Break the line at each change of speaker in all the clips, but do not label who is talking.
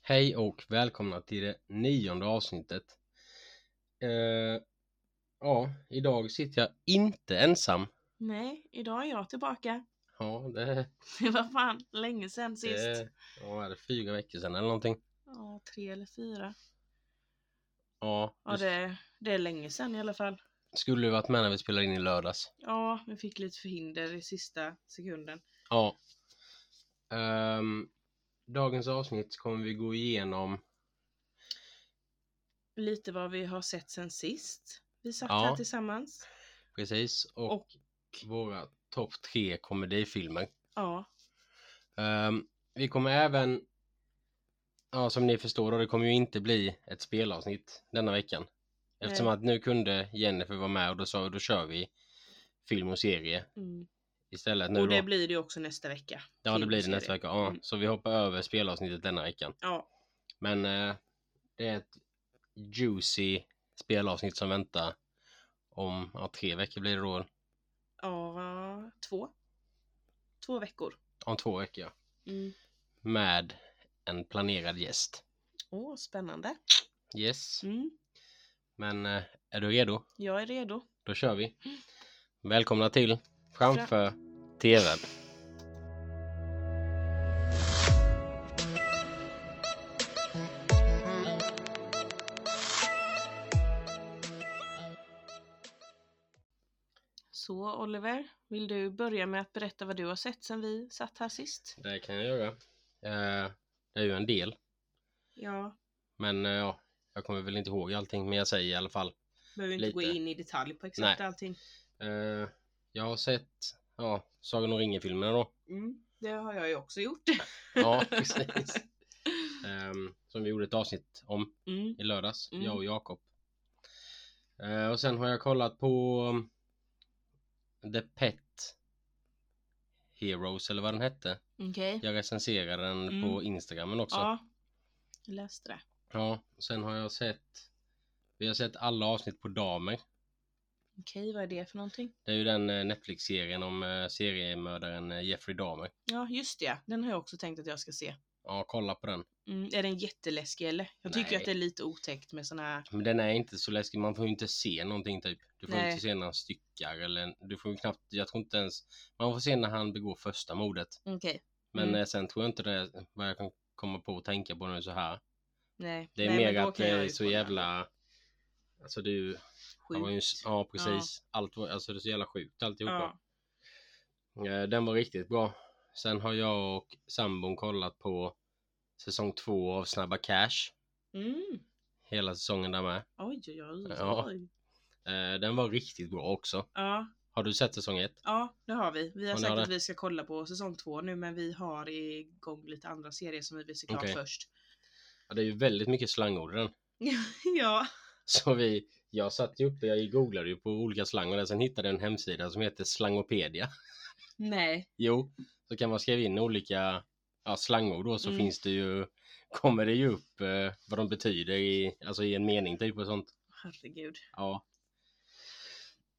Hej och välkomna till det nionde avsnittet. Eh, ja, idag sitter jag inte ensam.
Nej, idag är jag tillbaka.
Ja, det
Det var fan länge sedan sist.
det- ja, vad är det fyra veckor sedan eller någonting.
Ja, tre eller fyra.
Ja,
Ja, det, det är länge sedan i alla fall.
skulle du varit med när vi spelade in i lördags.
Ja, vi fick lite förhinder i sista sekunden.
Ja. Ehm, dagens avsnitt kommer vi gå igenom.
Lite vad vi har sett sen sist. Vi satt
Ja.
här tillsammans.
Precis. Och,
Och-
våra topp tre komedifilmer.
Ja,
Ehm, vi kommer även, ja som ni förstår då, det kommer ju inte bli ett spelavsnitt denna veckan. Eftersom
Nej.
att nu kunde Jennifer vara med och då sa vi, då kör vi film och serie
mm.
istället nu
och det
då.
blir det ju också nästa vecka.
Ja det
film
blir
och
det nästa
serie.
vecka, ja.
Mm.
Så vi hoppar över spelavsnittet denna veckan.
Ja,
Men eh, det är ett juicy spelavsnitt som väntar om ja, tre veckor blir det då.
ja, va, två. Två veckor.
Om två veckor ja.
Mm.
Med en planerad gäst.
Åh, spännande.
Yes.
Mm.
Men eh, är du redo?
Jag är redo.
Då kör vi. Välkomna till Framför TVn.
Så Oliver, vill du börja med att berätta vad du har sett sen vi satt här sist?
Det kan jag göra. Eh, Det är ju en del,
Ja,
men eh, ja, jag kommer väl inte ihåg allting, men jag säger i alla fall.
behöver inte gå
Lite.
in i detalj på exakt
Nej.
allting.
Eh, Jag har sett ja, Sagan om ringen-filmerna då.
Mm, det har jag ju också gjort.
Ja, precis. Ehm, Som vi gjorde ett avsnitt om
Mm,
i lördags,
Mm.
jag och Jakob. Eh, Och sen har jag kollat på um, The Pet Heroes, eller vad den hette.
Okej.
Jag recenserade den
Mm.
på Instagramen också.
Ja, jag läste det.
Ja, och sen har jag sett Vi har sett alla avsnitt på Damer.
Okej, vad är det för någonting?
Det är ju den eh, Netflix-serien om eh, seriemördaren eh, Jeffrey Dahmer.
Ja, just det. Den har jag också tänkt att jag ska se.
Ja, kolla på den.
Mm, är den jätteläskig eller? Jag tycker ju
Nej.
att det är lite otäckt med såna här.
Men den är inte så läskig. Man får ju inte se någonting typ. Du får
Nej.
inte se när han styckar eller du får ju knappt, jag tror inte ens, man får se när han begår första mordet.
Okej.
Men
Mm.
eh, sen tror jag inte det är vad jag kan komma på att tänka på nu så här.
Nej.
Det är
Nej, men
mer
då
att
kan
det
jag
är
ju
så
kolla.
jävla, alltså det är ju, han var ju, en s-
Sjukt.
ja precis. Allt var, alltså det är så jävla sjukt alltihopa.
Ja.
Eh, Den var riktigt bra. Sen har jag och sambon kollat på säsong två av Snabba Cash.
Mm.
Hela säsongen där med.
Oj, oj, oj.
Ja.
oj.
Eh, Den var riktigt bra också.
ja.
Har du sett säsong ett?
Ja, det har vi. Vi har
Ja, det
sagt
har
att
det.
vi ska kolla på säsong två nu, men vi har igång lite andra serier som vi vill se klart
Okej.
först.
Ja, det är ju väldigt mycket slangord i den.
ja,
Så vi, jag satt ju uppe, jag googlade ju på olika slang och där, sen hittade jag en hemsida som heter Slangopedia.
nej.
Jo, så kan man skriva in olika ja, slangord då så
Mm.
finns det ju, kommer det ju upp eh, vad de betyder i, alltså i en mening typ och sånt.
Herregud.
Ja.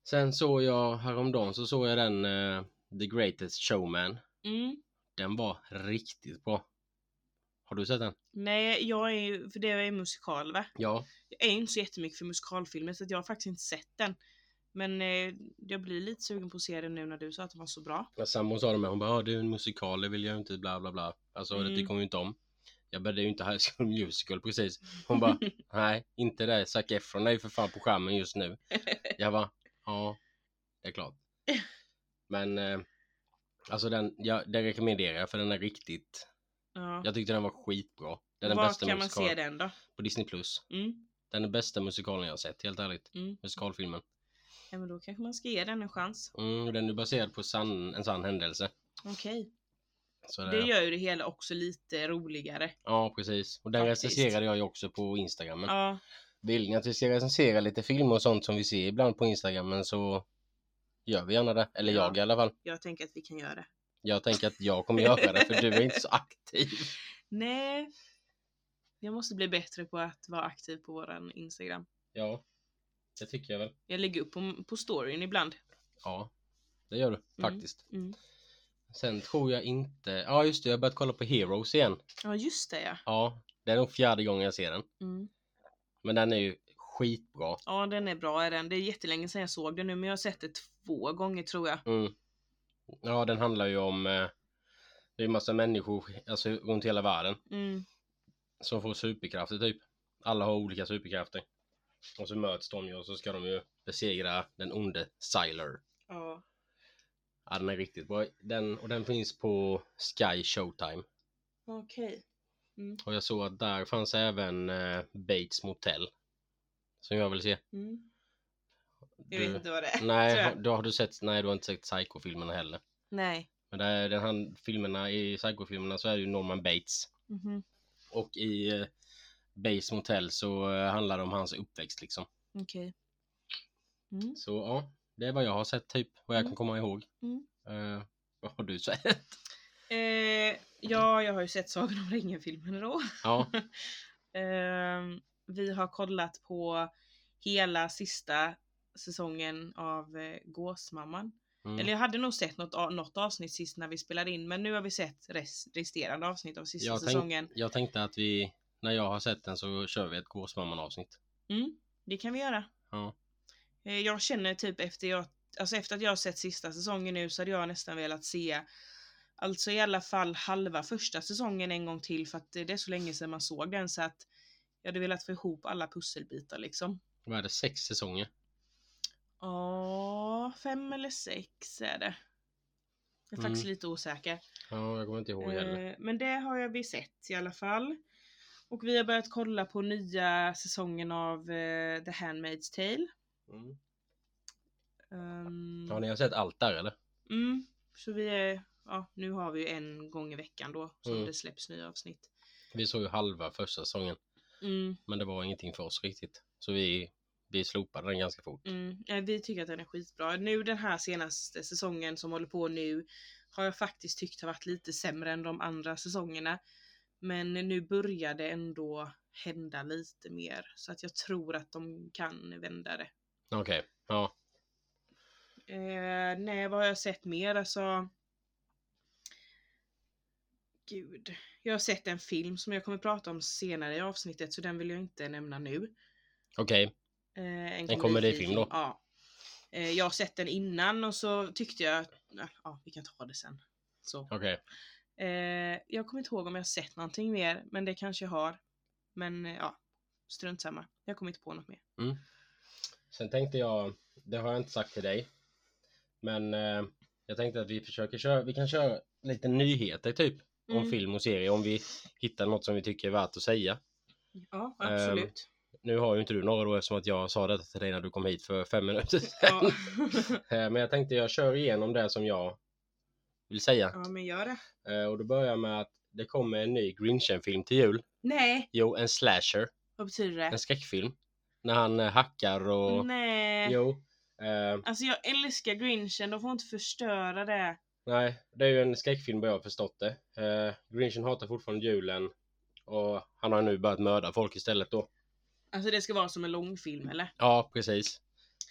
Sen såg jag häromdagen så såg jag den eh, The Greatest Showman.
Mm.
Den var riktigt bra. Har du sett den?
Nej, jag är ju, för det är musikal va?
Ja.
Jag är inte så jättemycket för musikalfilmer så att jag har faktiskt inte sett den. Men eh, jag blir lite sugen på att se den nu när du sa att den var så bra.
När sambon sa det med, hon bara "Ah, det är en musikal, det vill jag inte bla bla bla. Alltså det
Mm.
tycker hon ju inte om. Jag började ju inte High School Musical precis. Hon bara nej, inte det. Zac Efron är ju för fan på skärmen just nu. Jag bara ja, det är klart. Men eh, alltså den, ja, den rekommenderar jag för den är riktigt.
ja.
Jag tyckte den var skitbra. Det är den
Var
bästa
kan man
musikalen.
se den då?
på Disney Plus.
Mm.
Den är bästa musikalen jag har sett, helt ärligt.
Mm.
Musikalfilmen.
Ja, men då kanske man ska ge den en chans.
Mm, och den är baserad på sann, en sann händelse.
Okej.
Så det,
Det gör ju det hela också lite roligare.
Ja, precis. Och den
Faktiskt.
recenserade jag ju också på Instagramen.
Ja.
Vill ni att vi ska recensera lite filmer och sånt som vi ser ibland på Instagramen så gör vi gärna det. Eller
Ja.
jag i alla fall.
Jag tänker att vi kan göra det.
Jag tänker att jag kommer göra det för du är inte så aktiv.
Nej. Jag måste bli bättre på att vara aktiv på våran Instagram.
Ja, det tycker jag väl.
Jag lägger upp på, på storyn ibland.
Ja, det gör du faktiskt.
Mm.
Sen tror jag inte... Ja just det, jag har börjat kolla på Heroes igen.
Ja just det ja.
Ja, det är nog fjärde gången jag ser den.
Mm.
Men den är ju skitbra.
Ja den är bra är den. Det är jättelänge sedan jag såg den nu men jag har sett det två gånger tror jag.
Mm. Ja, den handlar ju om... eh, Det är ju massa människor alltså, runt hela världen
Mm.
som får superkrafter typ. Alla har olika superkrafter. Och så möts de ju och så ska de ju besegra den onde Siler.
Ja.
Ja, den är riktigt bra. Den, och den finns på Sky Showtime.
Okej.
Och jag såg att där fanns även eh, Bates Motel. Som jag vill se.
Mm. Jag
Du- Mm.
vet inte vad det är. tror
Nej,
jag.
du, har du sett, nej, du har inte sett Psycho-filmerna heller.
Nej.
Men där, den här filmerna, i Psycho-filmerna så är det ju Norman Bates.
Mhm.
Och i eh, Bates Motel så eh, handlar det om hans uppväxt liksom.
Okej. Mm.
Så ja, det är vad jag har sett typ, vad jag kan komma ihåg.
Mm.
Eh, vad har du sett?
Eh, ja, jag har ju sett Sagan om ringen-filmen då.
ja,
Ehm, vi har kollat på hela sista säsongen av eh, Gåsmamman.
mm,
Eller jag hade nog sett något, a- något avsnitt sist när vi spelade in men nu har vi sett res- resterande avsnitt av sista
Jag tänk-
säsongen.
jag tänkte att vi, när jag har sett den så kör vi ett Gåsmamman avsnitt.
Mm, det kan vi göra.
Ja.
Eh, Jag känner typ efter, jag, alltså efter att jag har sett sista säsongen nu så hade jag nästan velat se Alltså i alla fall halva första säsongen en gång till för att det det är så länge sedan man såg den så att jag hade velat få ihop alla pusselbitar liksom.
Vad är det, sex säsonger?
Ja, fem eller sex är det. Jag är faktiskt lite osäker.
Ja, jag kommer inte ihåg heller.
Eh, Men det har jag vi sett i alla fall. Och vi har börjat kolla på nya säsongen av eh, The Handmaid's Tale.
Mm.
Ehm,
Ja, ni har sett allt där eller?
mm, så vi är, ja, nu har vi ju en gång i veckan då som
Mm.
det släpps nya avsnitt.
Vi såg ju halva första säsongen.
Mm,
Men det var ingenting för oss riktigt. Så vi, vi slopade den ganska fort.
mm. Nej, vi tycker att den är skitbra. Nu den här senaste säsongen som håller på nu har jag faktiskt tyckt har varit lite sämre än de andra säsongerna. Men nu börjar det ändå hända lite mer så att jag tror att de kan vända det.
Okej, ja.
Eh, nej, vad har jag sett mer? Alltså... Gud. Jag har sett en film som jag kommer prata om senare i avsnittet så den vill jag inte nämna nu.
Okej,
Eh, en,
komedifilm då?
Ja. Eh, jag har sett den innan och så tyckte jag att... Ja, ja, vi kan ta det sen. Så.
okej.
Eh, jag kommer inte ihåg om jag har sett någonting mer, men det kanske jag har. Men eh, ja, strunt samma. Jag kommer inte på något mer.
Mm. Sen tänkte jag, det har jag inte sagt till dig. Men eh, jag tänkte att vi försöker köra, vi kan köra lite nyheter typ. Om
Mm.
film och serie, om vi hittar något som vi tycker är värt att säga.
Mm,
Ehm.
Ja, absolut.
Nu har ju inte du några då eftersom att jag sa detta till dig när du kom hit för fem minuter sedan.
Ja.
Eh, Men jag tänkte jag kör igenom det som jag vill säga.
ja, men gör det.
Eh, Och då börjar jag med att det kommer en ny Grinchen-film till jul.
Nej,
Jo, en slasher.
vad betyder det?
en skräckfilm. När han eh, hackar och...
Nej.
Jo. Eh,
Alltså jag älskar Grinchen, de får inte förstöra det.
nej, det är ju en skräckfilm vad jag har förstått det. Eh, Grinchen hatar fortfarande julen. Och han har nu börjat mörda folk istället då.
Alltså det ska vara som en långfilm eller?
Ja, precis.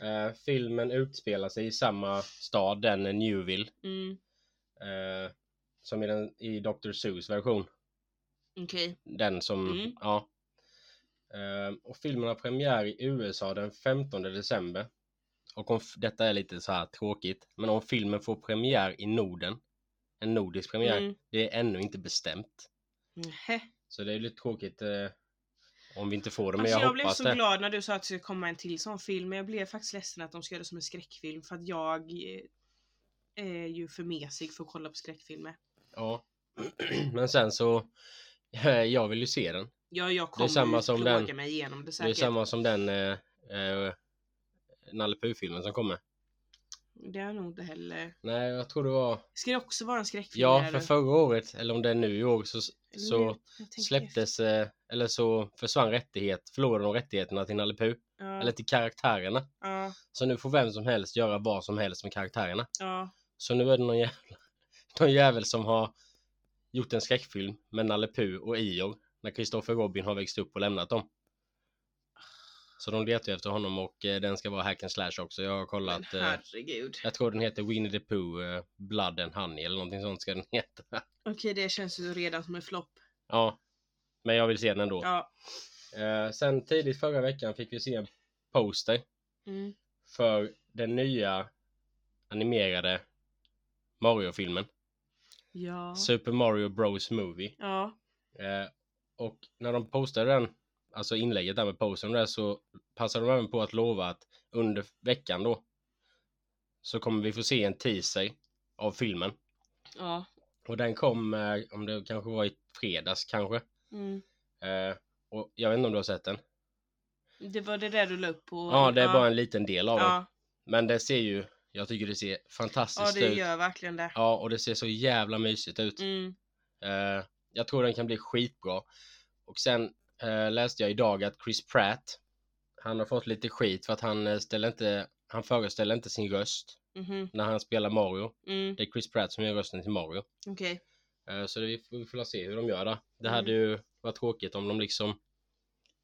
Eh, filmen utspelar sig i samma stad, den är Newville.
Mm,
Eh, som i, den, i Dr. Seuss version.
okej.
Den som,
Mm.
ja. Eh, och filmen har premiär i USA den 15 december. Och om, f- detta är lite så här tråkigt, men om filmen får premiär i Norden, en nordisk premiär,
Mm.
det är ännu inte bestämt.
Nähä.
Så det är lite tråkigt eh, om vi inte får det, men
Alltså jag,
jag,
blev
hoppas
så
det.
glad när du sa att det skulle komma en till sån film, men jag blev faktiskt ledsen att de ska göra det som en skräckfilm för att jag eh, är ju för mesig för att kolla på skräckfilmer.
Ja. men sen så, eh, jag vill ju se den.
Ja, jag kommer
samma
ju
som
plåga
den.
mig igenom det
Det är
säkert.
samma som den eh, eh, Nalle Puh-filmen som kommer.
Det är nog inte heller.
Nej, jag tror det var,
Ska det också vara en skräckfilm?
ja,
eller?
för förra året, eller om det är nu i år, så,
Eller
så
jag tänker efter.
släpptes, eh, eller så försvann rättighet, förlorade de rättigheterna till Nalle Puh,
Ja,
eller till karaktärerna.
ja,
Så nu får vem som helst göra vad som helst med karaktärerna.
ja.
Så nu är det någon jävel, någon jävel som har gjort en skräckfilm med Nalle Puh och Ior när Kristoffer Robin har växt upp och lämnat dem. Så de letar ju efter honom och eh, den ska vara hack and slash också. Jag har
Men
kollat. Eh,
herregud.
jag tror den heter Winnie the Pooh eh, Blood and Honey eller någonting sånt ska den heta.
Okej, det känns ju redan som en flopp.
Ja, men jag vill se den ändå.
Ja.
Eh, sen tidigt förra veckan fick vi se en poster
Mm.
för den nya animerade Mario-filmen.
Ja.
Super Mario Bros Movie.
Ja.
Eh, och när de postade den, alltså inlägget där med posten där så passade de även på att lova att under veckan då så kommer vi få se en teaser av filmen.
Ja.
Och den kom, eh, om det kanske var i fredags kanske.
Mm.
Eh, och jag vet inte om du har sett den?
Det var det där du la upp på.
Ja, det är bara en liten del av den.
Ja,
Men det ser ju, jag tycker det ser
ja
fantastiskt
det
ut.
gör verkligen det.
Ja, och det ser så jävla mysigt ut.
Mm.
Eh, jag tror den kan bli skitbra. Och sen eh, läste jag idag att Chris Pratt, han har fått lite skit för att han eh, ställer inte, han föreställer inte sin röst
Mhm.
när han spelar Mario.
Mm.
Det är Chris Pratt som gör rösten till Mario.
Okej.
Eh, så det, vi, får- vi får se hur de gör det. Det
Mm.
hade ju varit tråkigt om de liksom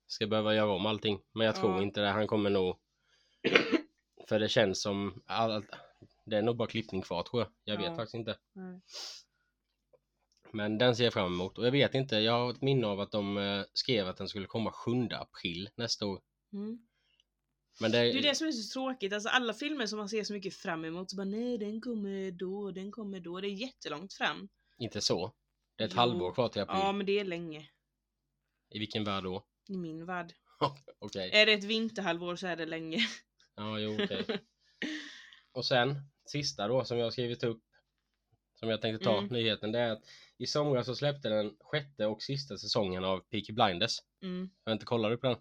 ska behöva göra om allting. Men jag tror
Ja.
inte det. Han kommer nog... För det känns som... All... Det är nog bara klippning kvar tror jag. Jag
Ja.
vet faktiskt inte.
Nej.
Men den ser jag fram emot. Och jag vet inte, jag har ett minne av att de eh, skrev att den skulle komma 7 april nästa år.
Mm.
Men det...
Det är ju det som är så tråkigt. Alltså alla filmer som man ser så mycket fram emot så bara nej den kommer då, den kommer då. Det är jättelångt fram.
Inte så. Det är ett
Jo.
halvår kvar till april.
Ja men det är länge.
I vilken värld då?
I min värld.
Okej.
Är det ett vinterhalvår så är det länge.
Ja, jo, okej. Och sen, sista då som jag har skrivit upp, som jag tänkte ta
Mm.
nyheten, det är att i somras så släppte den sjätte och sista säsongen av Peaky Blinders.
Mm.
Jag har inte kollat upp den.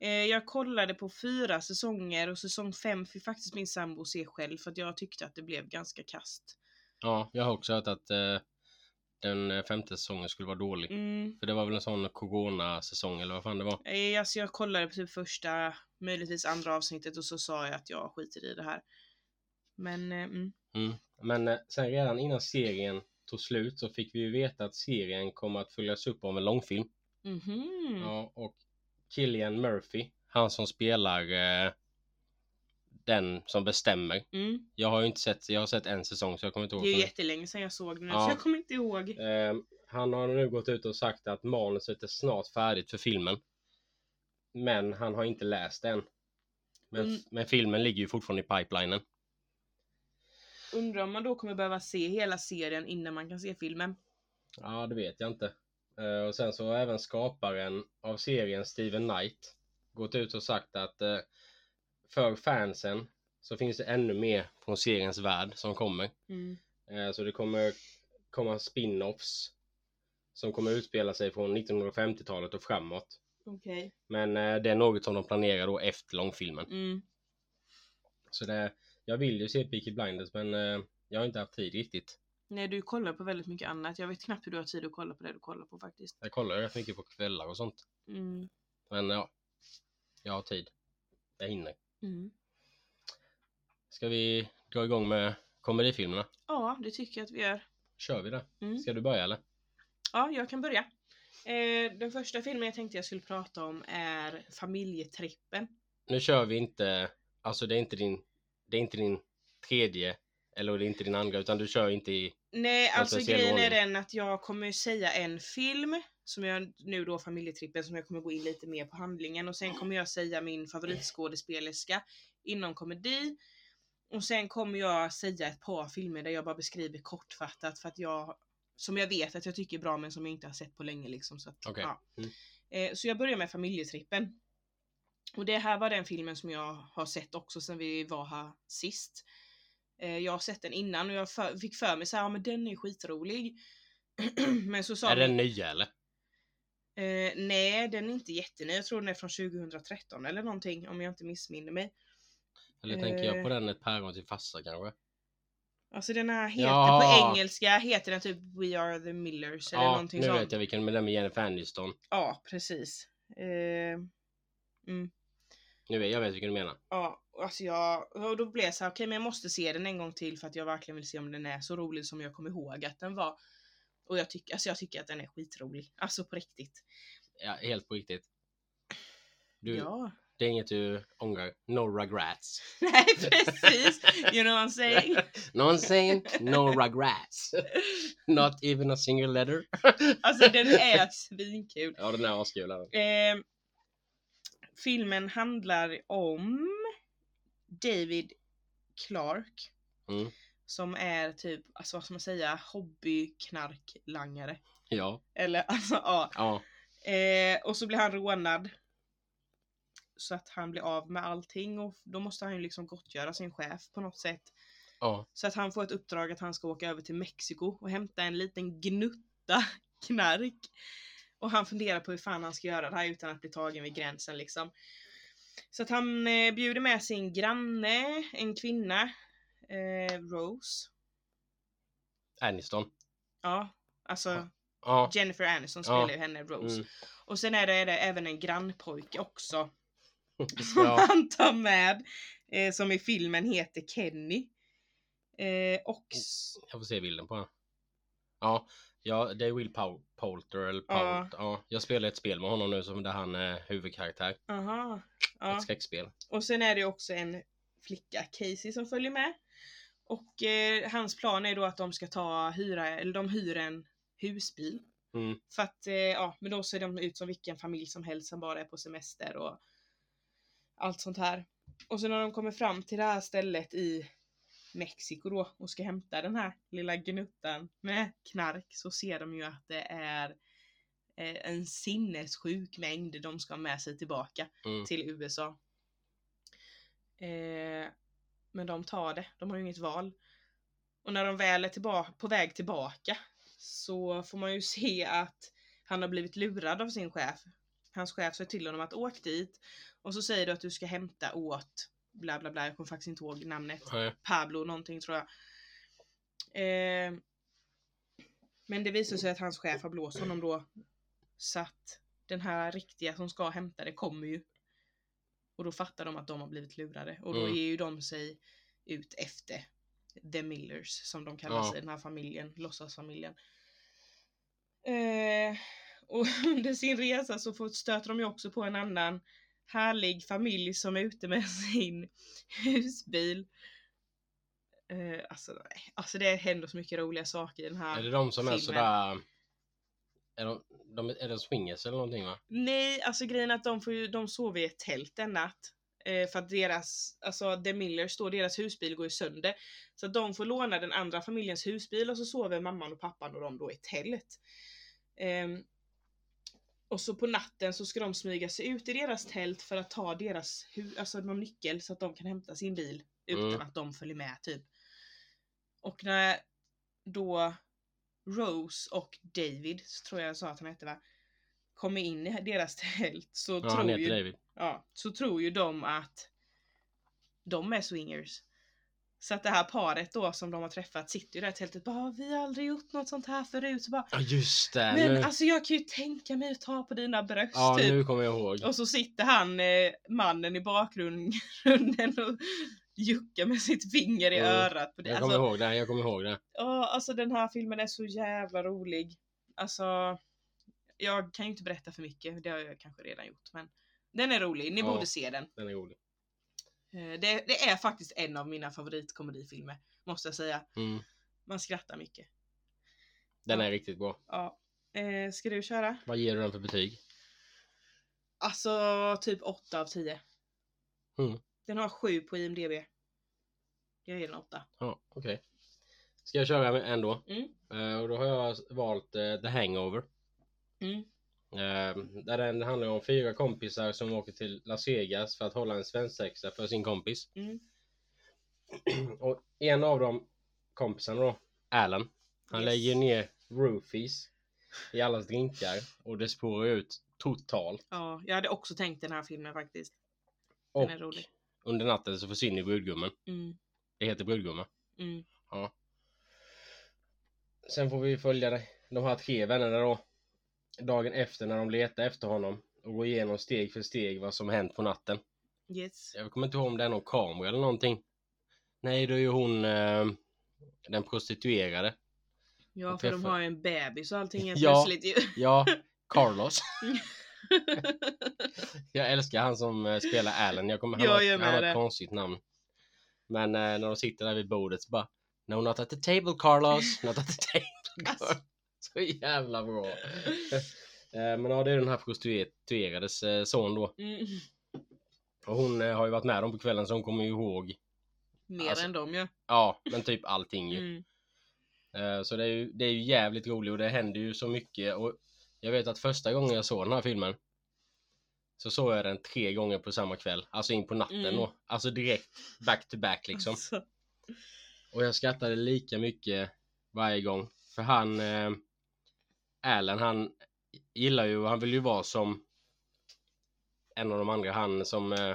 Eh, jag kollade på fyra säsonger och säsong fem fick faktiskt min sambo se själv för att jag tyckte att det blev ganska kast.
Ja, jag har också hört att eh, den eh, femte säsongen skulle vara dålig.
Mm.
För det var väl en sån corona-säsong eller vad fan det var.
Eh, Alltså jag kollade på typ första, möjligtvis andra avsnittet och så sa jag att jag skiter i det här. Men eh, mm.
Men eh, sen redan innan serien tog slut så fick vi ju veta att serien kommer att följas upp av en långfilm.
Mhm.
Ja, och Killian Murphy, han som spelar eh, den som bestämmer.
Mm.
Jag har ju inte sett, jag har sett en säsong så jag kommer inte ihåg.
Det är ju
så mycket.
jättelänge sedan jag såg den
Ja.
så jag kommer inte ihåg.
Ehm, han har nu gått ut och sagt att manuset är snart färdigt för filmen. Men han har inte läst den. Men,
Mm.
men filmen ligger ju fortfarande i pipelinen.
Undrar om man då kommer behöva se hela serien innan man kan se filmen.
Ja, det vet jag inte. Eh, och sen så har även skaparen av serien Steven Knight gått ut och sagt att eh, för fansen så finns det ännu mer från seriens värld som kommer.
Mm.
Eh, så det kommer komma spin-offs som kommer utspela sig från 1950-talet och framåt.
Okej.
Men eh, det är något som de planerar då efter långfilmen.
Mm.
Så det, jag vill ju se Peaky Blinders men eh, jag har inte haft tid riktigt.
Nej du kollar på väldigt mycket annat. Jag vet knappt hur du har tid att kolla på det du kollar på faktiskt.
Jag kollar rätt mycket på kvällar och sånt.
Mm.
Men ja, jag har tid. Jag hinner.
Mm.
Ska vi dra igång med komedifilmerna?
Ja, det tycker jag att vi gör.
Kör vi det?
Mm.
Ska du börja eller?
Ja, jag kan börja. Eh, den första filmen jag tänkte jag skulle prata om är Familjetrippen.
Nu kör vi inte, alltså det är inte din, det är inte din tredje eller det är inte din andra utan du kör inte i,
Nej, alltså
speciell
grejen är
ordning.
den att jag kommer ju säga en film som jag nu då familjetrippen som jag kommer gå in lite mer på handlingen och sen kommer jag säga min favoritskådespelerska inom komedi. Och sen kommer jag säga ett par filmer där jag bara beskriver kortfattat för att jag som jag vet att jag tycker är bra men som jag inte har sett på länge liksom. Så, att,
Okej.
ja.
Mm.
eh, så jag börjar med familjetrippen. Och det här var den filmen som jag har sett också sen vi var här sist. Eh, jag har sett den innan och jag för, fick för mig så här, ja men den är skitrolig. men så sa
är den
min-
ny eller?
Eh, nej, den är inte jätteny. Jag tror den är från 2013 eller någonting om jag inte missminner mig.
Eller tänker jag på
Eh.
den ett päron till farsa kanske?
Alltså den här heter
Ja.
på engelska heter den typ We Are The Millers eller
Ja,
någonting
nu
sånt.
vet jag vilken, men den med Jennifer Aniston.
Ja, precis. Eh, mm.
Nu vet jag vet vilken du menar.
ja, och alltså jag, och då blev jag så här, okej men jag måste se den en gång till för att jag verkligen vill se om den är så rolig som jag kommer ihåg att den var. Och jag, tycker alltså jag tycker att den är skitrolig. Alltså på riktigt.
Ja, helt på riktigt. Du,
Ja.
Det är inget du ångrar. No regrets.
Nej precis, you know what I'm saying?
Någonsin, no regrets. Not even a single letter.
Alltså den är svinkul.
Ja, den är askul. den.
Eh, filmen handlar om David Clark.
Mm.
Som är typ, alltså vad ska man säga, hobbyknarklangare.
Ja,
Eller alltså ja.
ja.
Eh, och så blir han rånad. Så att han blir av med allting och då måste han ju liksom gottgöra sin chef på något sätt.
ja.
Så att han får ett uppdrag att han ska åka över till Mexiko och hämta en liten gnutta knark. Och han funderar på hur fan han ska göra det här utan att bli tagen vid gränsen liksom. Så att han eh, bjuder med sin granne, en kvinna, eh, Rose.
Aniston.
Ja, alltså
Ja.
Jennifer Aniston
Ja.
spelar ju henne, Rose.
Mm.
Och sen är det, är det även en grannpojke också. Som
ja.
han tar med. Eh, som i filmen heter Kenny. Eh, och... s-
Jag får se bilden på honom. Ja, ja det är Will Pol- Poulter eller Poult. Ja. jag spelar ett spel med honom nu som där han är huvudkaraktär.
Aha. Ja.
Ett skräckspel.
Och sen är det också en flicka, Casey, som följer med. Och eh, hans plan är då att de ska ta hyra, eller de hyr en husbil.
Mm.
För att, eh, ja, men då ser de ut som vilken familj som helst som bara är på semester och allt sånt här. Och sen när de kommer fram till det här stället i Mexiko då och ska hämta den här lilla gnuttan med knark så ser de ju att det är eh, en sinnessjuk mängd de ska ha med sig tillbaka
Mm.
till USA. Eh, men de tar det, de har ju inget val. Och när de väl är tillba- på väg tillbaka så får man ju se att han har blivit lurad av sin chef. Hans chef sa till honom att åk dit och så säger du att du ska hämta åt bla bla bla, jag kommer faktiskt inte ihåg namnet.
Nej.
Pablo någonting tror jag. Eh, men det visar sig att hans chef har blåst honom då. Så att den här riktiga som ska hämta det kommer ju. Och då fattar de att de har blivit lurade. Och då
Mm.
ger ju de sig ut efter The Millers som de kallas
Ja.
i den här familjen, låtsasfamiljen. Eh, och under sin resa så får, stöter de ju också på en annan härlig familj som är ute med sin husbil. Eh, alltså, nej. alltså det händer så mycket roliga saker i den här.
Är det de som är
filmen.
sådär... Är de, de, är de swingers eller någonting va?
Nej, alltså grejen är att de, får ju, de sover i ett tält en natt. Eh, för att deras, alltså The Millers då, deras husbil går ju sönder. Så att de får låna den andra familjens husbil och så sover mamman och pappan och de då i tält. Ehm, och så på natten så ska de smyga sig ut i deras tält för att ta deras hu- alltså någon nyckel så att de kan hämta sin bil utan
Mm.
att de följer med typ. Och när då Rose och David, tror jag jag sa att han hette va? Kommer in i deras tält så,
Ja, han
tror,
heter
ju,
David.
ja, så tror ju de att de är swingers. Så att det här paret då som de har träffat sitter ju där i tältet bara vi har aldrig gjort något sånt här förut. Så bara,
Ja just det!
men
nu,
alltså jag kan ju tänka mig att ta på dina bröst
ja
typ.
nu kommer jag ihåg.
Och så sitter han, eh, mannen i bakgrunden och juckar med sitt finger i
Mm.
örat. På det.
Jag kommer
Alltså,
ihåg det, jag kommer ihåg det.
Ja, alltså den här filmen är så jävla rolig. Alltså, jag kan ju inte berätta för mycket, det har jag kanske redan gjort. Men den är rolig, ni
Ja.
borde se den.
Den är rolig.
Eh, Det, det är faktiskt en av mina favoritkomedifilmer, måste jag säga.
Mm.
Man skrattar mycket.
Den
Ja.
är riktigt bra.
Ja. Eh, ska du köra?
Vad ger du den för betyg?
Alltså, typ 8 av 10.
Mm.
Den har 7 på IMDB. Jag ger den 8.
Ja, okej. Ska jag köra ändå?
Mm.
Eh, och då har jag valt eh, The Hangover.
Mm.
Eh, där den handlar om fyra kompisar som åker till Las Vegas för att hålla en svensexa för sin kompis.
Mm.
och en av de kompisarna då, Alan, han
Yes.
lägger ner roofies i allas drinkar och det spårar ut totalt.
Ja, jag hade också tänkt den här filmen faktiskt. Den
Och
är rolig.
under natten så försvinner brudgummen.
Mm,
Det heter brudgummen.
mm,
Sen får vi följa det- de här tre vännerna då. Dagen efter när de letar efter honom. Och gå igenom steg för steg vad som hänt på natten.
yes.
Jag kommer inte ihåg om det är någon kamera eller någonting. Nej, det är ju hon... Eh, den prostituerade.
Ja,
Och
för de
träffa-
har ju en bebis och allting är
Ja.
plötsligt ju.
Ja, Carlos. Jag älskar han som eh, spelar Allen. Jag kommer, han
Jag
har,
gör med
han har
det.
ett konstigt namn. Men eh, när de sitter där vid bordet så bara No not at the table Carlos, not at the table
Alltså.
Carlos. Så jävla bra. Eh, Men ja, det är den här prostituerades eh, son då.
Mm.
Och hon eh, har ju varit med dem på kvällen så hon kommer ju ihåg.
Mer
Alltså,
än dem ju.
Ja, men typ allting ju.
Mm.
Eh, Så det är, ju, det är ju jävligt roligt och det händer ju så mycket. Och jag vet att första gången jag såg den här filmen så såg jag den tre gånger på samma kväll. Alltså in på natten
Mm.
och alltså direkt back to back liksom.
Alltså,
Och jag skrattade lika mycket varje gång. För han, eh, Allen, han gillar ju, han vill ju vara som en av de andra, han som eh,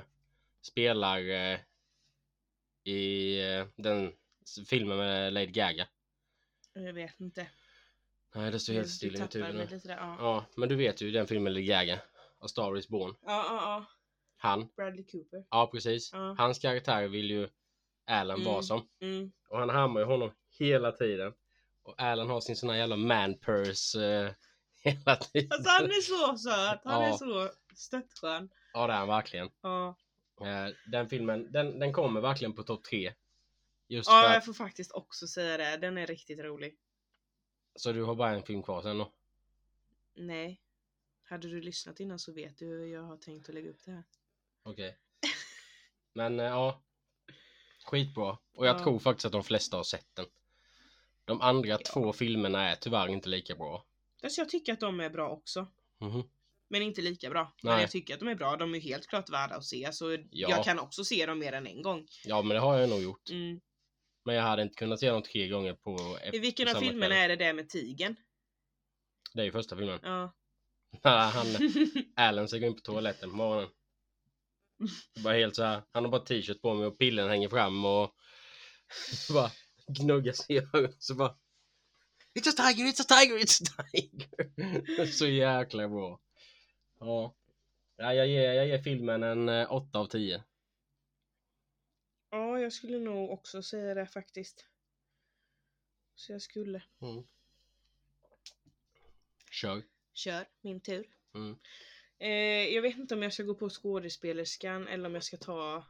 spelar eh, i eh, den s- filmen med Lady Gaga.
jag vet inte.
Nej, det står
Du,
helt
du
still i mitt
tappar
huvud
mig
nu.
lite där. Ja.
Ja, men du vet ju den filmen Lady Gaga, A Star Is Born.
Ja, ja, ja.
Han,
Bradley Cooper.
ja precis.
Ja.
Hans karaktär vill ju Allen
Mm.
vara som.
Mm.
Och han hammar ju honom hela tiden. Och Alan har sin sån här jävla man purse eh, hela tiden.
Alltså han är så söt. Han är
Ja.
så stöttskön.
Ja det är han verkligen.
Ja.
Eh, den filmen, den, den kommer verkligen på topp tre. Just
ja,
för
jag
att,
får faktiskt också säga det. Den är riktigt rolig.
så du har bara en film kvar sen då?
Nej. Hade du lyssnat innan så vet du hur jag har tänkt att lägga upp det här.
Okej. Men eh, ja. Skitbra. Och jag
Ja.
tror faktiskt att de flesta har sett den. De andra
Ja.
två filmerna är tyvärr inte lika bra.
Alltså jag tycker att de är bra också.
Mhm.
Men inte lika bra. Men
Nej.
jag tycker att de är bra. De är helt klart värda att se. Så jag kan också se dem mer än en gång.
Ja men det har jag nog gjort.
Mm.
Men jag hade inte kunnat se dem tre gånger på
I
ett,
vilken av
samma
filmerna
kväll.
är det där med tigen?
Det är ju första filmen.
Ja.
Han, Alan ska gå in på toaletten på morgonen. Bara helt så här. Han har bara t-shirt på mig och pillen hänger fram och bara gnuggar sig i ögonen. Så bara It's a tiger, it's a tiger, it's a tiger. så jäkla bra. Ja. ja jag, ger, jag ger filmen en eh, 8 av 10.
ja, jag skulle nog också säga det faktiskt. Så jag skulle.
Mm. Kör.
Kör, min tur.
Mm.
Eh, jag vet inte om jag ska gå på skådespelerskan eller om jag ska ta...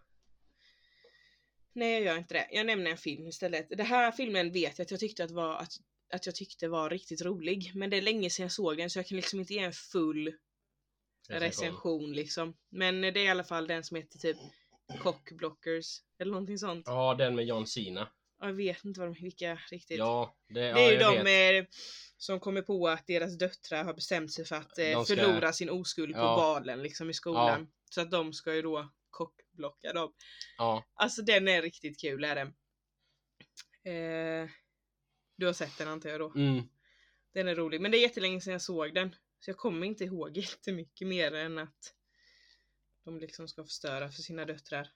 Nej jag gör inte det. Jag nämner en film istället. Den här filmen vet jag att jag tyckte att, var, att, att jag tyckte var riktigt rolig. Men det är länge sedan jag såg den så jag kan liksom inte ge en full recension liksom. Men eh, det är i alla fall den som heter typ Cockblockers eller någonting sånt.
Ja, den med John Cena.
Jag vet inte vad de, vilka riktigt.
Ja, det,
Det är ju
ja, jag
de
vet.
eh, som kommer på att deras döttrar har bestämt sig för att eh,
De ska-
förlora sin oskuld på
Ja.
balen liksom i skolan. Så att de ska ju då kockblocka dem.
Ja,
Alltså den är riktigt kul är den. Eh, du har sett den antar jag då?
mm.
Den är rolig. Men det är jättelänge sedan jag såg den. Så jag kommer inte ihåg jättemycket mer än att de liksom ska förstöra för sina döttrar.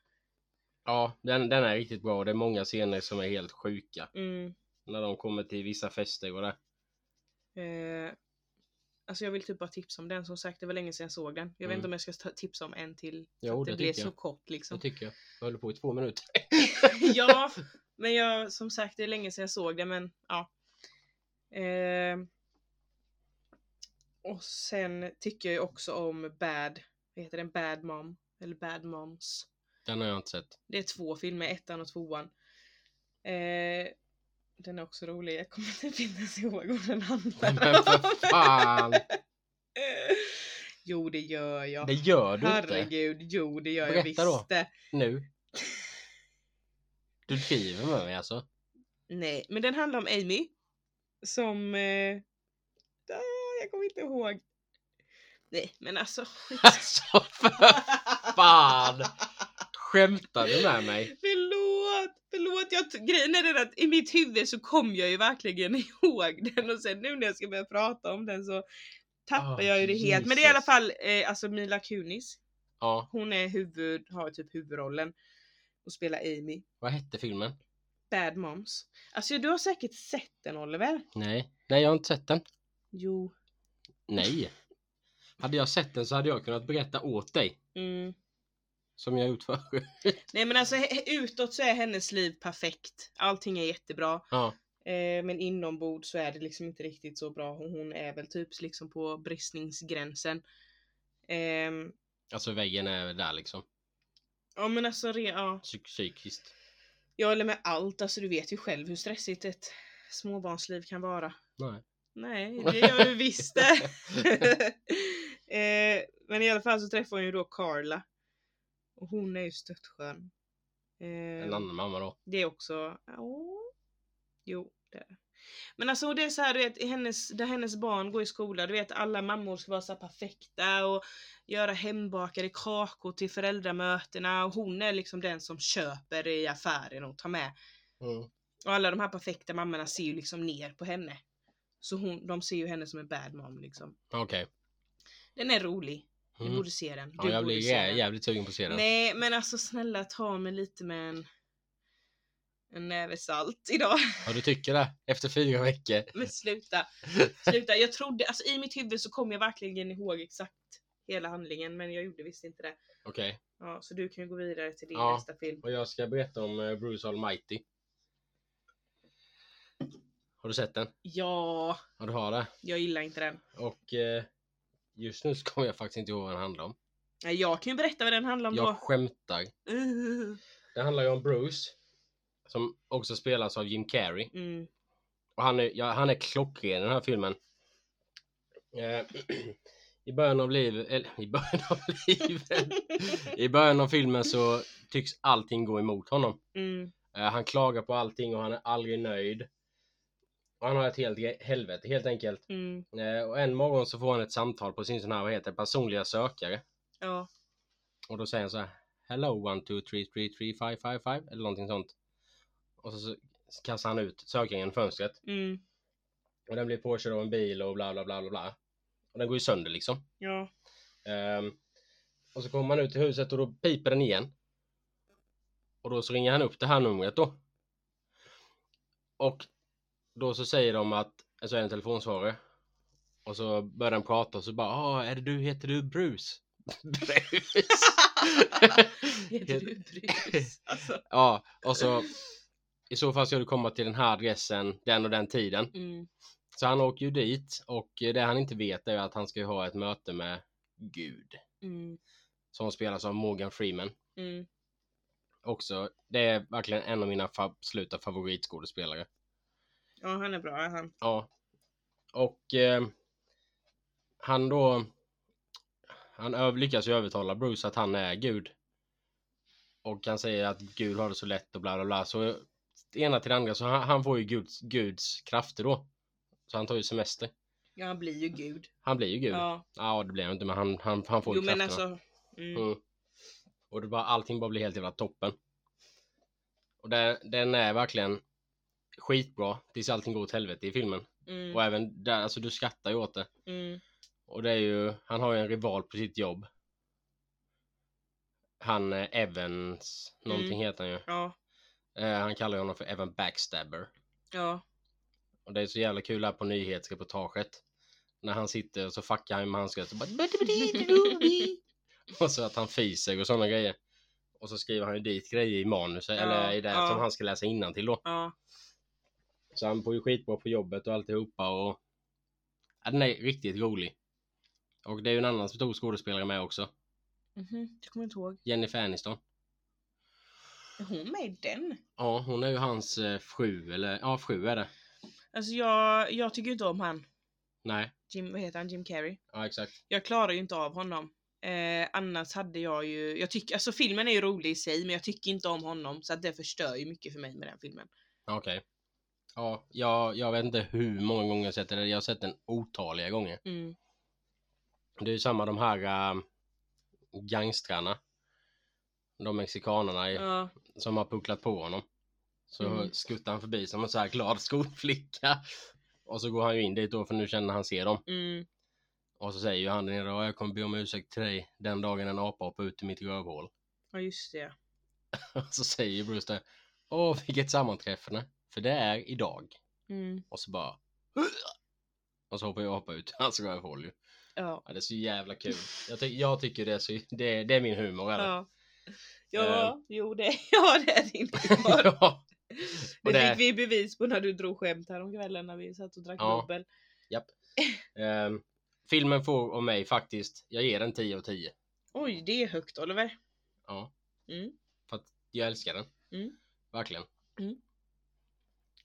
ja den, den är riktigt bra. Det är många scener som är helt sjuka.
Mm.
När de kommer till vissa fester och det.
Eh, alltså jag vill typ bara tipsa om den. Som sagt det var länge sedan jag såg den. Jag vet
Mm.
inte om jag ska ta- tipsa om en till. Så
Jo,
att det,
det
blir
tycker
så
jag.
kort liksom.
Det tycker jag. Jag håller på i två minuter.
ja, men jag, som sagt det är länge sedan jag såg det men ja. Eh, och sen tycker jag ju också om Bad, vad heter den? Bad Mom. Eller Bad Moms.
Den har jag inte sett.
Det är två filmer, ettan och tvåan. Eh, den är också rolig, jag kommer inte finnas ihåg vad den
Men
handlar om.
för fan!
Eh, jo det gör jag.
Det gör du inte.
Herregud, jo det gör jag
Berätta då.
visst det.
Nu. Du driver med mig alltså?
Nej, men den handlar om Amy. Som... Eh, ah, jag kommer inte ihåg. Nej, men alltså...
Alltså för fan! Skämtar du med mig?
Förlåt, förlåt. Jag, t- grejen är den att i mitt huvud så kom jag ju verkligen ihåg den och sen nu när jag ska börja prata om den så tappar
Ah,
jag ju det helt. Men det är i alla
Jesus.
fall eh, alltså Mila Kunis.
Ja,
Hon är huvud, har typ huvudrollen och spelar Amy.
vad hette filmen?
Bad Moms. Alltså du har säkert sett den Oliver.
Nej, nej jag har inte sett den.
Jo.
Nej. Hade jag sett den så hade jag kunnat berätta åt dig.
Mm.
Som jag utför.
Nej men alltså he- utåt så är hennes liv perfekt. Allting är jättebra.
Ja,
Eh, men inombords så är det liksom inte riktigt så bra. Hon, hon är väl typ liksom på bristningsgränsen. Ehm,
Alltså väggen är där liksom.
ja men alltså, re, ja.
Psyk- psykiskt.
Jag håller med allt, alltså du vet ju själv hur stressigt ett småbarnsliv kan vara.
Nej.
Nej, det gör du visst det. eh, men i alla fall så träffar hon ju då Carla. Och hon är ju störtskön.
En
Eh,
annan mamma då.
det är också... Åh. Jo, det är det. Men alltså det är så här, du vet, hennes, där hennes barn går i skola, du vet alla mammor ska vara så här perfekta och göra hembakade kakor till föräldramötena och hon är liksom den som köper i affären och tar med och alla de här perfekta mammorna ser ju liksom ner på henne. Så hon, de ser ju henne som en bad mom liksom.
Okej.
Den är rolig. Du
Mm.
borde se den. Du
Ja, jag
borde
blir
se
jä-
den.
jävligt sugen på att se den.
Nej men alltså snälla ta mig lite med en, en näve salt idag.
Ja du tycker det? Efter fyra veckor?
men sluta. Sluta. Jag trodde, alltså i mitt huvud så kom jag verkligen ihåg exakt hela handlingen men jag gjorde visst inte det.
Okej.
Ja, så du kan ju gå vidare till din
Ja.
nästa film.
Och jag ska berätta om eh, Bruce Almighty. Har du sett den?
Ja,
Ja du har det.
jag gillar inte den.
Och eh, just nu så kommer jag faktiskt inte ihåg vad den handlar om.
Nej, Jag kan ju berätta vad den handlar om
Jag
då.
skämtar.
Uh.
Det handlar ju om Bruce. Som också spelas av Jim Carrey.
Mm.
Och han är, ja, han är klockren i den här filmen. Eh, I början av livet, eller i början av livet. I början av filmen så tycks allting gå emot honom.
mm.
Eh, Han klagar på allting och han är aldrig nöjd. Och han har ett helt ge- helvete helt enkelt.
Mm,
Eh, Och en morgon så får han ett samtal på sin sån här, vad heter det, personliga sökare.
ja.
Och då säger han så här Hello 1, 2, 3, 3, 3, 5, 5, 5 eller någonting sånt. Och så- så kastar han ut sökaren genom fönstret.
Mm,
Och den blir påkörd av en bil och bla bla bla bla bla. Och den går ju sönder liksom.
ja.
Ehm, och så kommer han ut till huset och då piper den igen. Och då så ringer han upp det här numret då. Och då så säger de att, så är det en telefonsvarare. Och så börjar den prata och så bara, ah, är det du, heter du Bruce? Bruce?
Heter du Bruce? Alltså.
ja, och så i så fall ska du komma till den här adressen, den och den tiden.
Mm,
Så han åker ju dit och eh, det han inte vet är att han ska ju ha ett möte med Gud.
mm,
Som spelas av Morgan Freeman.
mm.
Också, det är verkligen en av mina fa- absoluta favoritskådespelare.
Ja, han är bra, är han.
Ja. Och eh, han då... Han öv- lyckas ju övertala Bruce att han är Gud. Och han säger att Gud har det så lätt och bla bla bla. Så det ena till det andra, så han, han får ju Guds, Guds krafter då. Så han tar ju semester.
Ja, han blir ju gud.
Han blir ju Gud.
Ja.
Ja, det blir han inte, men han, han, han får
Jo,
ju
men
krafterna.
alltså. Mm.
Mm. Och det bara, allting bara blir helt jävla toppen. Och den, den är verkligen skitbra tills allting går åt helvete i filmen. Och
Mm,
även där, alltså du skrattar ju åt det.
mm,
Och det är ju, han har ju en rival på sitt jobb. Han eh, Evans, någonting
Mm.
heter han ju.
ja,
Eh, han kallar ju honom för Evan Backstabber.
ja.
Och det är så jävla kul här på nyhetsreportaget. När han sitter och så fuckar han med handskar och bara... Och så att han fiser och sådana grejer. Och så skriver han ju dit grejer i manus eller i det
ja.
som han ska läsa innan till då.
ja.
Så han får ju skitbra på jobbet och alltihopa och... Ja, den är riktigt rolig. Och det är ju en annan stor skådespelare med också.
Mhm, jag kommer inte ihåg.
Jennifer Aniston.
Är hon med i den?
Ja, hon är ju hans eh, fru eller... Ja, fru är det.
Alltså jag, jag tycker inte om han.
Nej,
Jim, vad heter han? Jim Carrey.
ja exakt.
Jag klarar ju inte av honom. Eh, annars hade jag ju, jag tycker, alltså filmen är ju rolig i sig men jag tycker inte om honom så att det förstör ju mycket för mig med den filmen.
Ja, Okej. Ja, jag, jag vet inte hur många gånger jag har sett den. Jag har sett den otaliga gånger.
Mm.
Det är ju samma de här äh, gangstrarna. De mexikanerna i-
Ja.
som har pucklat på honom. Så
Mm.
skuttar han förbi som en så här glad skolflicka. Och så går han ju in dit då för nu känner han ser dem.
Mm.
Och så säger ju han där nere, "Ja, jag kommer be om ursäkt till dig den dagen en apa hoppar ut i mitt rövhål.
Ja just det.
Och så säger ju Bruce där, åh vilket sammanträffande, för det är idag.
Mm.
Och så bara, och så hoppar ju apa ut Alltså, i hans rövhål ju.
Ja.
Ja, det är så jävla kul. Jag, ty- jag tycker det är, så, det, det är min humor. är det.
Ja. Ja, jo det, ja, det är din humor.
ja.
Det,
Och det,
fick vi bevis på när du drog skämt häromkvällen när vi satt och drack
Ja.
bubbel.
ehm, Filmen får av mig faktiskt, jag ger den 10 av 10.
Oj, det är högt Oliver.
Ja,
Mm.
för att jag älskar den.
Mm.
Verkligen.
Mm.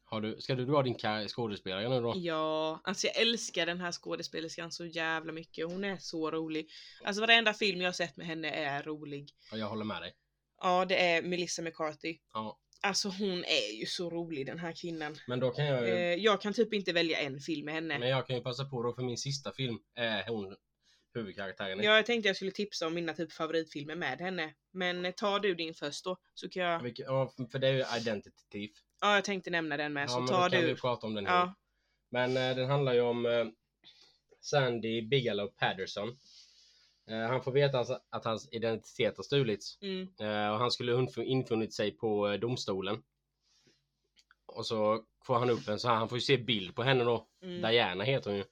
Har du, ska du dra din kar- skådespelare nu då?
Ja, alltså jag älskar den här skådespelerskan så jävla mycket. Hon är så rolig. Alltså varenda film jag har sett med henne är rolig.
Ja, jag håller med dig.
Ja, det är Melissa McCarthy.
Ja.
Alltså hon är ju så rolig den här kvinnan.
Men då kan jag,
Eh, jag kan typ inte välja en film med henne.
men jag kan ju passa på då för min sista film är hon huvudkaraktären i.
Ja, jag tänkte jag skulle tipsa om mina typ favoritfilmer med henne. Men tar du din först då så kan jag.
Vilket- ja, för det är ju Identity Thief.
Ja, jag tänkte nämna den med
Ja,
så
men
tar
då kan
du.
vi prata om den här.
Ja,
Men eh, den handlar ju om eh, Sandy Bigelow Patterson. Eh, han får veta alltså att hans identitet har stulits
mm,
eh, och han skulle ha inf- infunnit sig på eh, domstolen. Och så får han upp en så här, han får ju se bild på henne då.
mm.
Diana heter hon ju.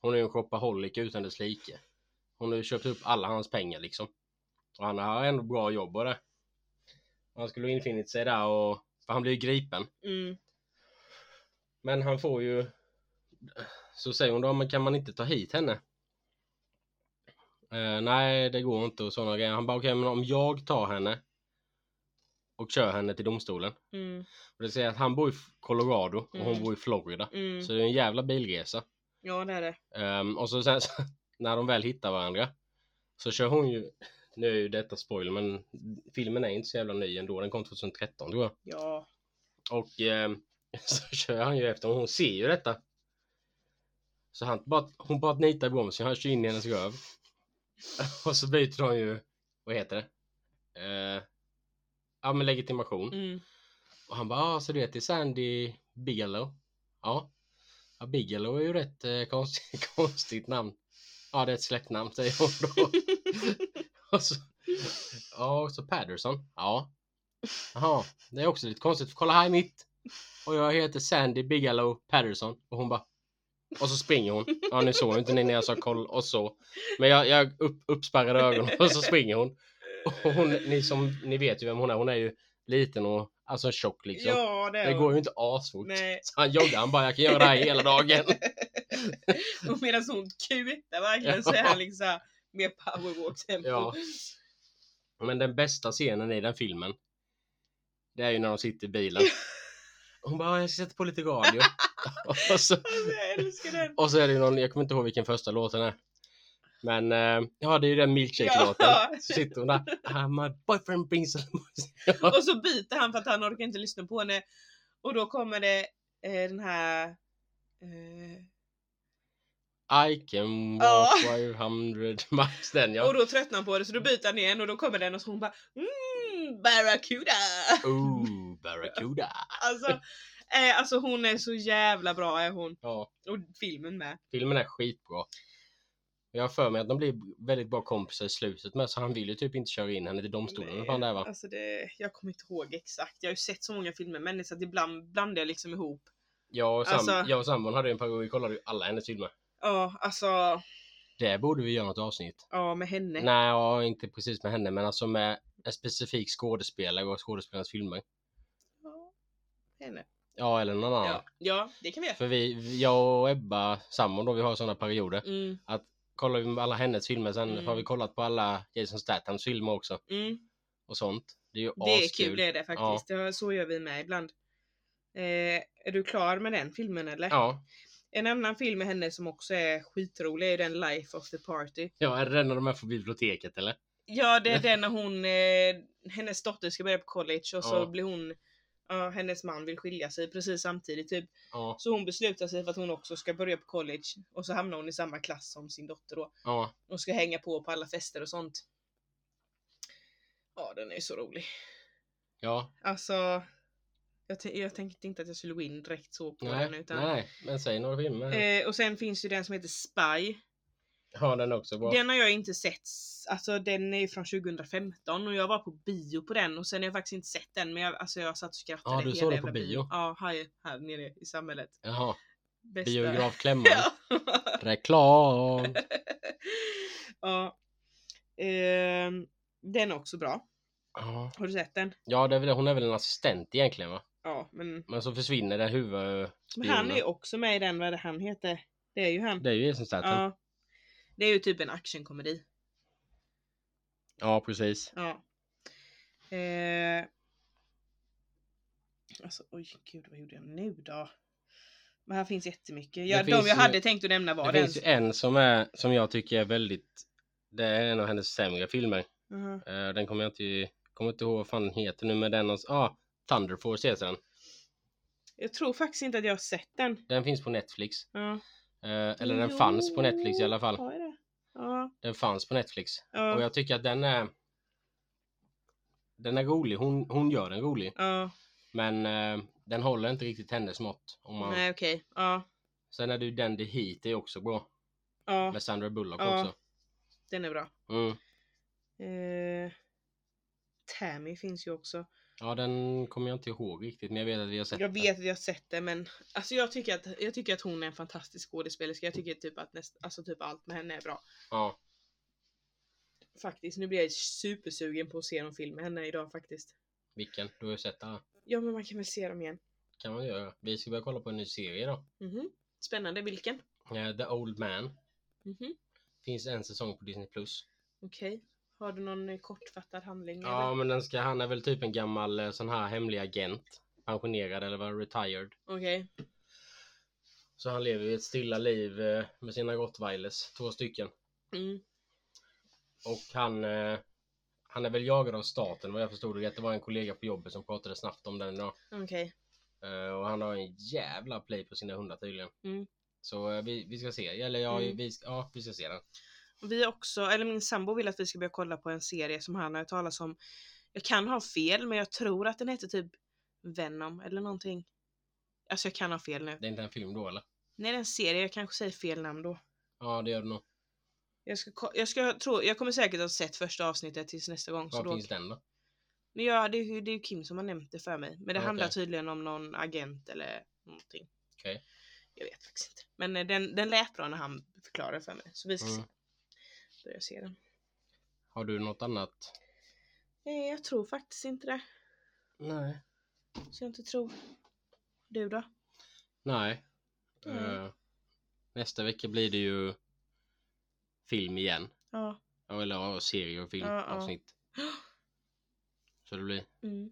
Hon är ju en shopaholic utan dess like. Hon har ju köpt upp alla hans pengar liksom. Och han har ändå bra jobb och det. Han skulle ha infinit sig där och... För han blir ju gripen.
Mm,
Men han får ju... Så säger hon då, men kan man inte ta hit henne? Eh, nej, det går inte och sådana grejer. Han bara, okej, men om jag tar henne och kör henne till domstolen.
mm,
Och det säger att han bor i Colorado och hon
Mm.
bor i Florida.
mm.
Så det är en jävla bilresa.
Ja, det är det.
Ehm, och så sen så, när de väl hittar varandra så kör hon ju, nu är ju detta spoiler men filmen är inte så jävla ny ändå, den kom 2013 tror jag.
Ja.
Och ehm, så kör han ju efter och hon ser ju detta. Så han bara, hon bara nitar bromsen, han kör in i hennes röv. och så byter de ju, vad heter det? Eh, ja men legitimation.
Mm,
Och han bara, ah, så du heter Sandy Bigelow? Ja. ja Bigelow är ju rätt eh, konstigt, konstigt namn. Ja, det är ett släktnamn säger hon då. och så, ja, och så Patterson. Ja. Jaha, det är också lite konstigt. För kolla här är mitt. Och jag heter Sandy Bigelow Patterson. Och hon bara. Och så springer hon. Ja, nu såg ju inte ni när jag sa koll och så. Men jag, jag upp, uppspärrade ögonen och så springer hon. Och hon, ni, som, ni vet ju vem hon är. Hon är ju liten och alltså tjock liksom.
ja, det är
Det
hon.
går ju inte asfort.
Nej.
Så han joggar, han bara jag kan göra det här hela dagen.
Och medan hon kutar verkligen så är han liksom mer powerwalk tempo.
Ja. Men den bästa scenen i den filmen. Det är ju när de sitter i bilen. Hon bara jag ska sätta på lite radio. och, så,
Alltså, jag älskar den.
och så är det ju någon, jag kommer inte ihåg vilken första låten är. Men eh, ja det är ju den milkshake-låten.
Ja.
Så sitter hon där. "Ah, My boyfriend brings a
Och så byter han för att han orkar inte lyssna på henne. Och då kommer det eh, den här... Eh,
I can
Ja.
walk 500 miles. Den
Och
ja.
då tröttnar han på det så då byter han igen och då kommer den och så hon bara mm, Barracuda!
Ooh, Barracuda.
Alltså, eh, alltså hon är så jävla bra är hon.
Ja.
Och filmen med.
Filmen är skitbra. Jag har för mig att de blir väldigt bra kompisar i slutet med så han vill ju typ inte köra in henne till domstolen. Nej. Fan där va?
Alltså det, jag kommer inte ihåg exakt. Jag har ju sett så många filmer men det är så att ibland blandar jag liksom ihop.
Jag och, sam-
Alltså-
jag och sambon hade ju en period, vi kollade ju alla hennes filmer.
Ja, alltså.
Det borde vi göra något avsnitt.
Ja, med henne.
Nej, Nej ja, inte precis med henne men alltså med en specifik skådespelare och skådespelarens filmer.
Ja, henne.
Ja eller någon annan.
Ja. ja, det kan vi göra.
För vi, vi- jag och Ebba, sambon då, vi har sådana perioder.
Mm,
Kollar vi med alla hennes filmer sen
Mm.
har vi kollat på alla Jason Stathams filmer också.
mm.
Och sånt. Det är ju
Det är
askul.
kul det är det faktiskt. Det, så gör vi med ibland. Eh, är du klar med den filmen eller?
Ja.
En annan film med henne som också är skitrolig är ju den Life of the Party.
ja, är det den när de är på biblioteket eller?
Ja, det är den när hon, eh, hennes dotter ska börja på college och så
Ja.
blir hon, ja, hennes man vill skilja sig precis samtidigt typ.
Ja.
Så hon beslutar sig för att hon också ska börja på college och så hamnar hon i samma klass som sin dotter då
Ja.
och ska hänga på på alla fester och sånt. Ja, den är ju så rolig.
Ja,
Alltså, jag, tän- jag tänkte inte att jag skulle gå in direkt så på
nej,
den utan.
nej, nej, men säg några filmer.
Eh, och sen finns ju den som heter Spy.
ja, den är också bra.
Den har jag inte sett. Alltså den är ju från 2015 och jag var på bio på den och sen har jag faktiskt inte sett den men jag, alltså, jag satt och skrattade
Ja, du
hela
såg den
jävla
på bio.
bion. Ja, här, här nere i samhället.
Jaha,
Bästa.
biografklämman.
Ja.
Reklam!
ja. Ehm, den är också bra.
Ja.
Har du sett den?
Ja, det är väl, hon är väl en assistent egentligen va?
Ja, men,
Men så försvinner den huvud...
men han
Spionen.
är ju också med i den, vad är det han heter? Det är ju han.
Det är ju Jason Statham.
Ja. Det är ju typ en actionkomedi.
Ja, precis.
Ja. Eh. Alltså oj gud vad gjorde jag nu då? Men här finns jättemycket. Jag,
Det
de
finns
jag
ju-
hade tänkt att nämna
det
var den.
finns ju en som, är, som jag tycker är väldigt... Det är en av hennes sämre filmer.
Mhm.
Eh, den kommer jag inte, kommer inte ihåg vad fan den heter nu, men den... någonstans- Ah, Thunder Force heter den.
Jag tror faktiskt inte att jag har sett den.
Den finns på Netflix.
Ja.
Eh, eller den fanns på Netflix i alla fall.
Jo, har jag det? Ja.
Den fanns på Netflix.
Ja.
Och jag tycker att den är... Den är rolig. Hon, hon gör den rolig.
ja.
Men eh, den håller inte riktigt hennes mått. Om man...
Nej okej. Ja.
Sen är det ju den The Heat är också bra.
Ja.
Med Sandra Bullock
Ja.
också.
Den är bra.
Mm.
Eh. Tammy finns ju också.
Ja, den kommer jag inte ihåg riktigt. Men jag vet att vi har sett
Jag vet att jag har sett det men alltså jag tycker att, jag tycker att hon är en fantastisk skådespelerska. Jag tycker typ att näst, alltså typ allt med henne är bra.
den. Ja.
Faktiskt, nu blir jag supersugen på att se någon film med henne idag faktiskt.
Vilken? Du har ju sett den.
Ja men man kan väl se dem igen.
kan man göra. Vi ska börja kolla på en ny serie då.
Mhm. Spännande, vilken?
Eh, The Old Man.
Mhm.
Finns en säsong på Disney+. Plus.
Okej. Har du någon eh, kortfattad handling?
Ja,
eller?
men den ska, han är väl typ en gammal eh, sån här hemlig agent. Pensionerad eller var retired.
Okej.
Så han lever ju ett stilla liv eh, med sina rottweilers, två stycken.
Mm.
Och han, eh, han är väl jagad av staten vad jag förstod det rätt. Det var en kollega på jobbet som pratade snabbt om den idag.
Okej.
Eh, Och han har en jävla play på sina hundar tydligen.
Mm.
Så eh, vi, vi ska se, eller ja,
Mm.
vi, ska, ja, vi ska se den.
Vi också, eller min sambo vill att vi ska börja kolla på en serie som han har hört talas om. Jag kan ha fel men jag tror att den heter typ Venom eller någonting. Alltså jag kan ha fel nu.
Det är inte en film då eller?
Nej det är en serie, jag kanske säger fel namn då.
Ja det gör det nog.
Jag, ska, ko- jag, ska, tro, jag kommer säkert ha sett första avsnittet tills nästa gång. Så
Var
då,
finns den då?
men ja, det, är ju- det är ju Kim som har nämnt det för mig. Men det
Okej.
handlar tydligen om någon agent eller någonting.
Okej.
Jag vet faktiskt inte. Men eh, den, den lät bra när han förklarade för mig. Så vi ska
Mm.
se. börja se den.
Har du något annat?
Nej, jag tror faktiskt inte det.
Nej.
Så jag inte tror. Du då?
Nej.
Nej.
Eh, nästa vecka blir det ju film igen.
Ja.
Ja, Eller ja, serie och film
Ja, ja.
avsnitt. Så det blir.
Mm.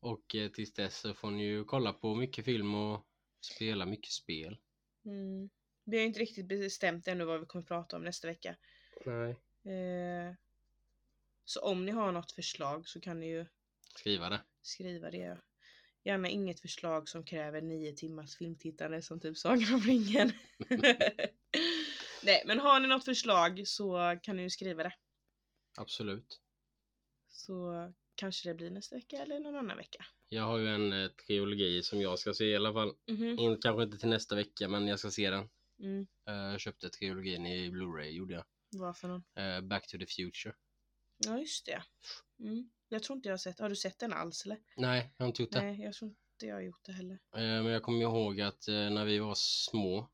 Och eh, tills dess så får ni ju kolla på mycket film och spela mycket spel.
Mm. Vi har ju inte riktigt bestämt ännu vad vi kommer prata om nästa vecka.
Nej.
Eh, så om ni har något förslag så kan ni ju
Skriva det.
skriva det. Gärna inget förslag som kräver nio timmars filmtittande som typ Sagan om ringen. Nej men har ni något förslag så kan ni ju skriva det.
Absolut.
Så kanske det blir nästa vecka eller någon annan vecka.
Jag har ju en eh, trilogi som jag ska se i alla fall.
Mhm.
In, kanske inte till nästa vecka men jag ska se den.
Mm.
Eh, jag köpte trilogin i Blu-ray gjorde jag.
Vad för någon?
Eh, Back to the Future.
Ja just det. Mm. Jag tror inte jag har sett, har du sett den alls eller?
Nej, jag har inte gjort det.
Nej jag tror inte jag har gjort det heller.
Eh, Men jag kommer ihåg att eh, när vi var små,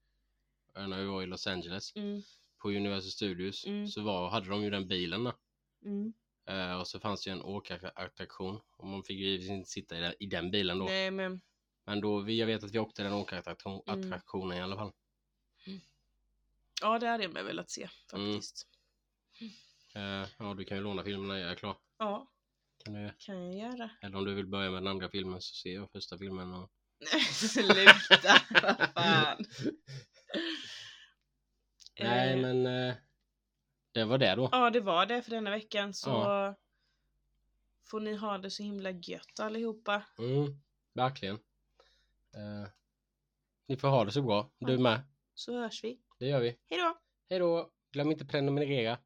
eh, när vi var i Los Angeles
Mm.
på Universal Studios
Mm.
så var, hade de ju den bilen där.
Mm.
Eh, Och så fanns det ju en åkarattraktion och man fick ju givetvis inte sitta i den, i den bilen då.
Nej men
Men då, vi, jag vet att vi åkte den åkarattraktionen
Mm.
attraktionen i alla fall.
ja det hade jag med velat se faktiskt.
Mm. Eh, Ja, du kan ju låna filmen när jag är klar.
Ja
Kan du,
kan jag göra.
eller om du vill börja med den andra filmen så ser jag första filmen. Och...
Nej sluta, vad fan.
Nej,
Eh,
men eh, det var det då.
Ja det var det för denna veckan så får ni ha det så himla gött allihopa.
Mm, verkligen. Eh, Ni får ha det så bra, du
Ja.
med.
Så hörs vi.
Det gör vi.
Hejdå!
Hej då! Glöm inte prenumerera.